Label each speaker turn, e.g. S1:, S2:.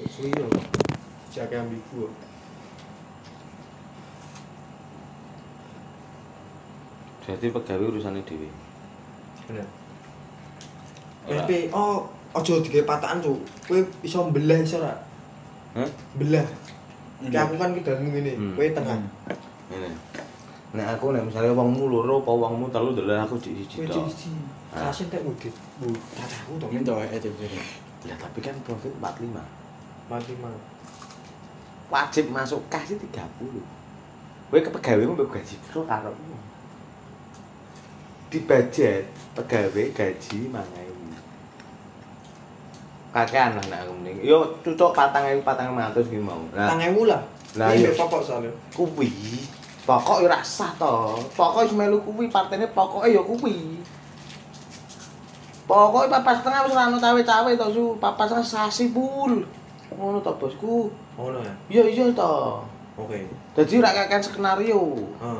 S1: ambiguino, cioè che è ambiguo.
S2: Berarti pegawai urusannya dewi.
S1: Bener.
S2: Ora.
S1: SPO ojo digawe patakan cuk. Kowe iso mbelah iso ora?
S2: Hah?
S1: Belah. Kayak aku kan ki dalam ngene,
S2: Hmm.
S1: kowe tengah.
S2: Ini. Nek aku nek misalnya wongmu loro apa wongmu telu dalan aku di siji
S1: Kowe
S2: tok.
S1: cici.
S2: Ah.
S1: Kasin tak udit. Bu, tataku to.
S3: Ini toh, eh, tiba-tiba.
S2: Ya tapi kan profit 45.
S1: Mati mah.
S2: Wajib masuk kas itu 30. Kowe ke pegawaimu mbek gaji piro karo Di budget pegawai gaji 5000. Kakean lah nek aku mending. Yo cucuk 4000 4500 ki mau. Nah,
S1: 1000 lah.
S2: Nah,
S1: Ini
S2: iya.
S1: mbek pokok soalnya.
S2: kuwi pokok ora sah to pokok wis melu kuwi partene pokoke ya kuwi pokoke papat setengah wis ora ono cawe-cawe to su papat setengah sasi pun ngono to bosku
S1: Ngono ya.
S2: iya iya to
S1: Oke. Ah.
S2: dadi ora kakean skenario
S1: Heeh.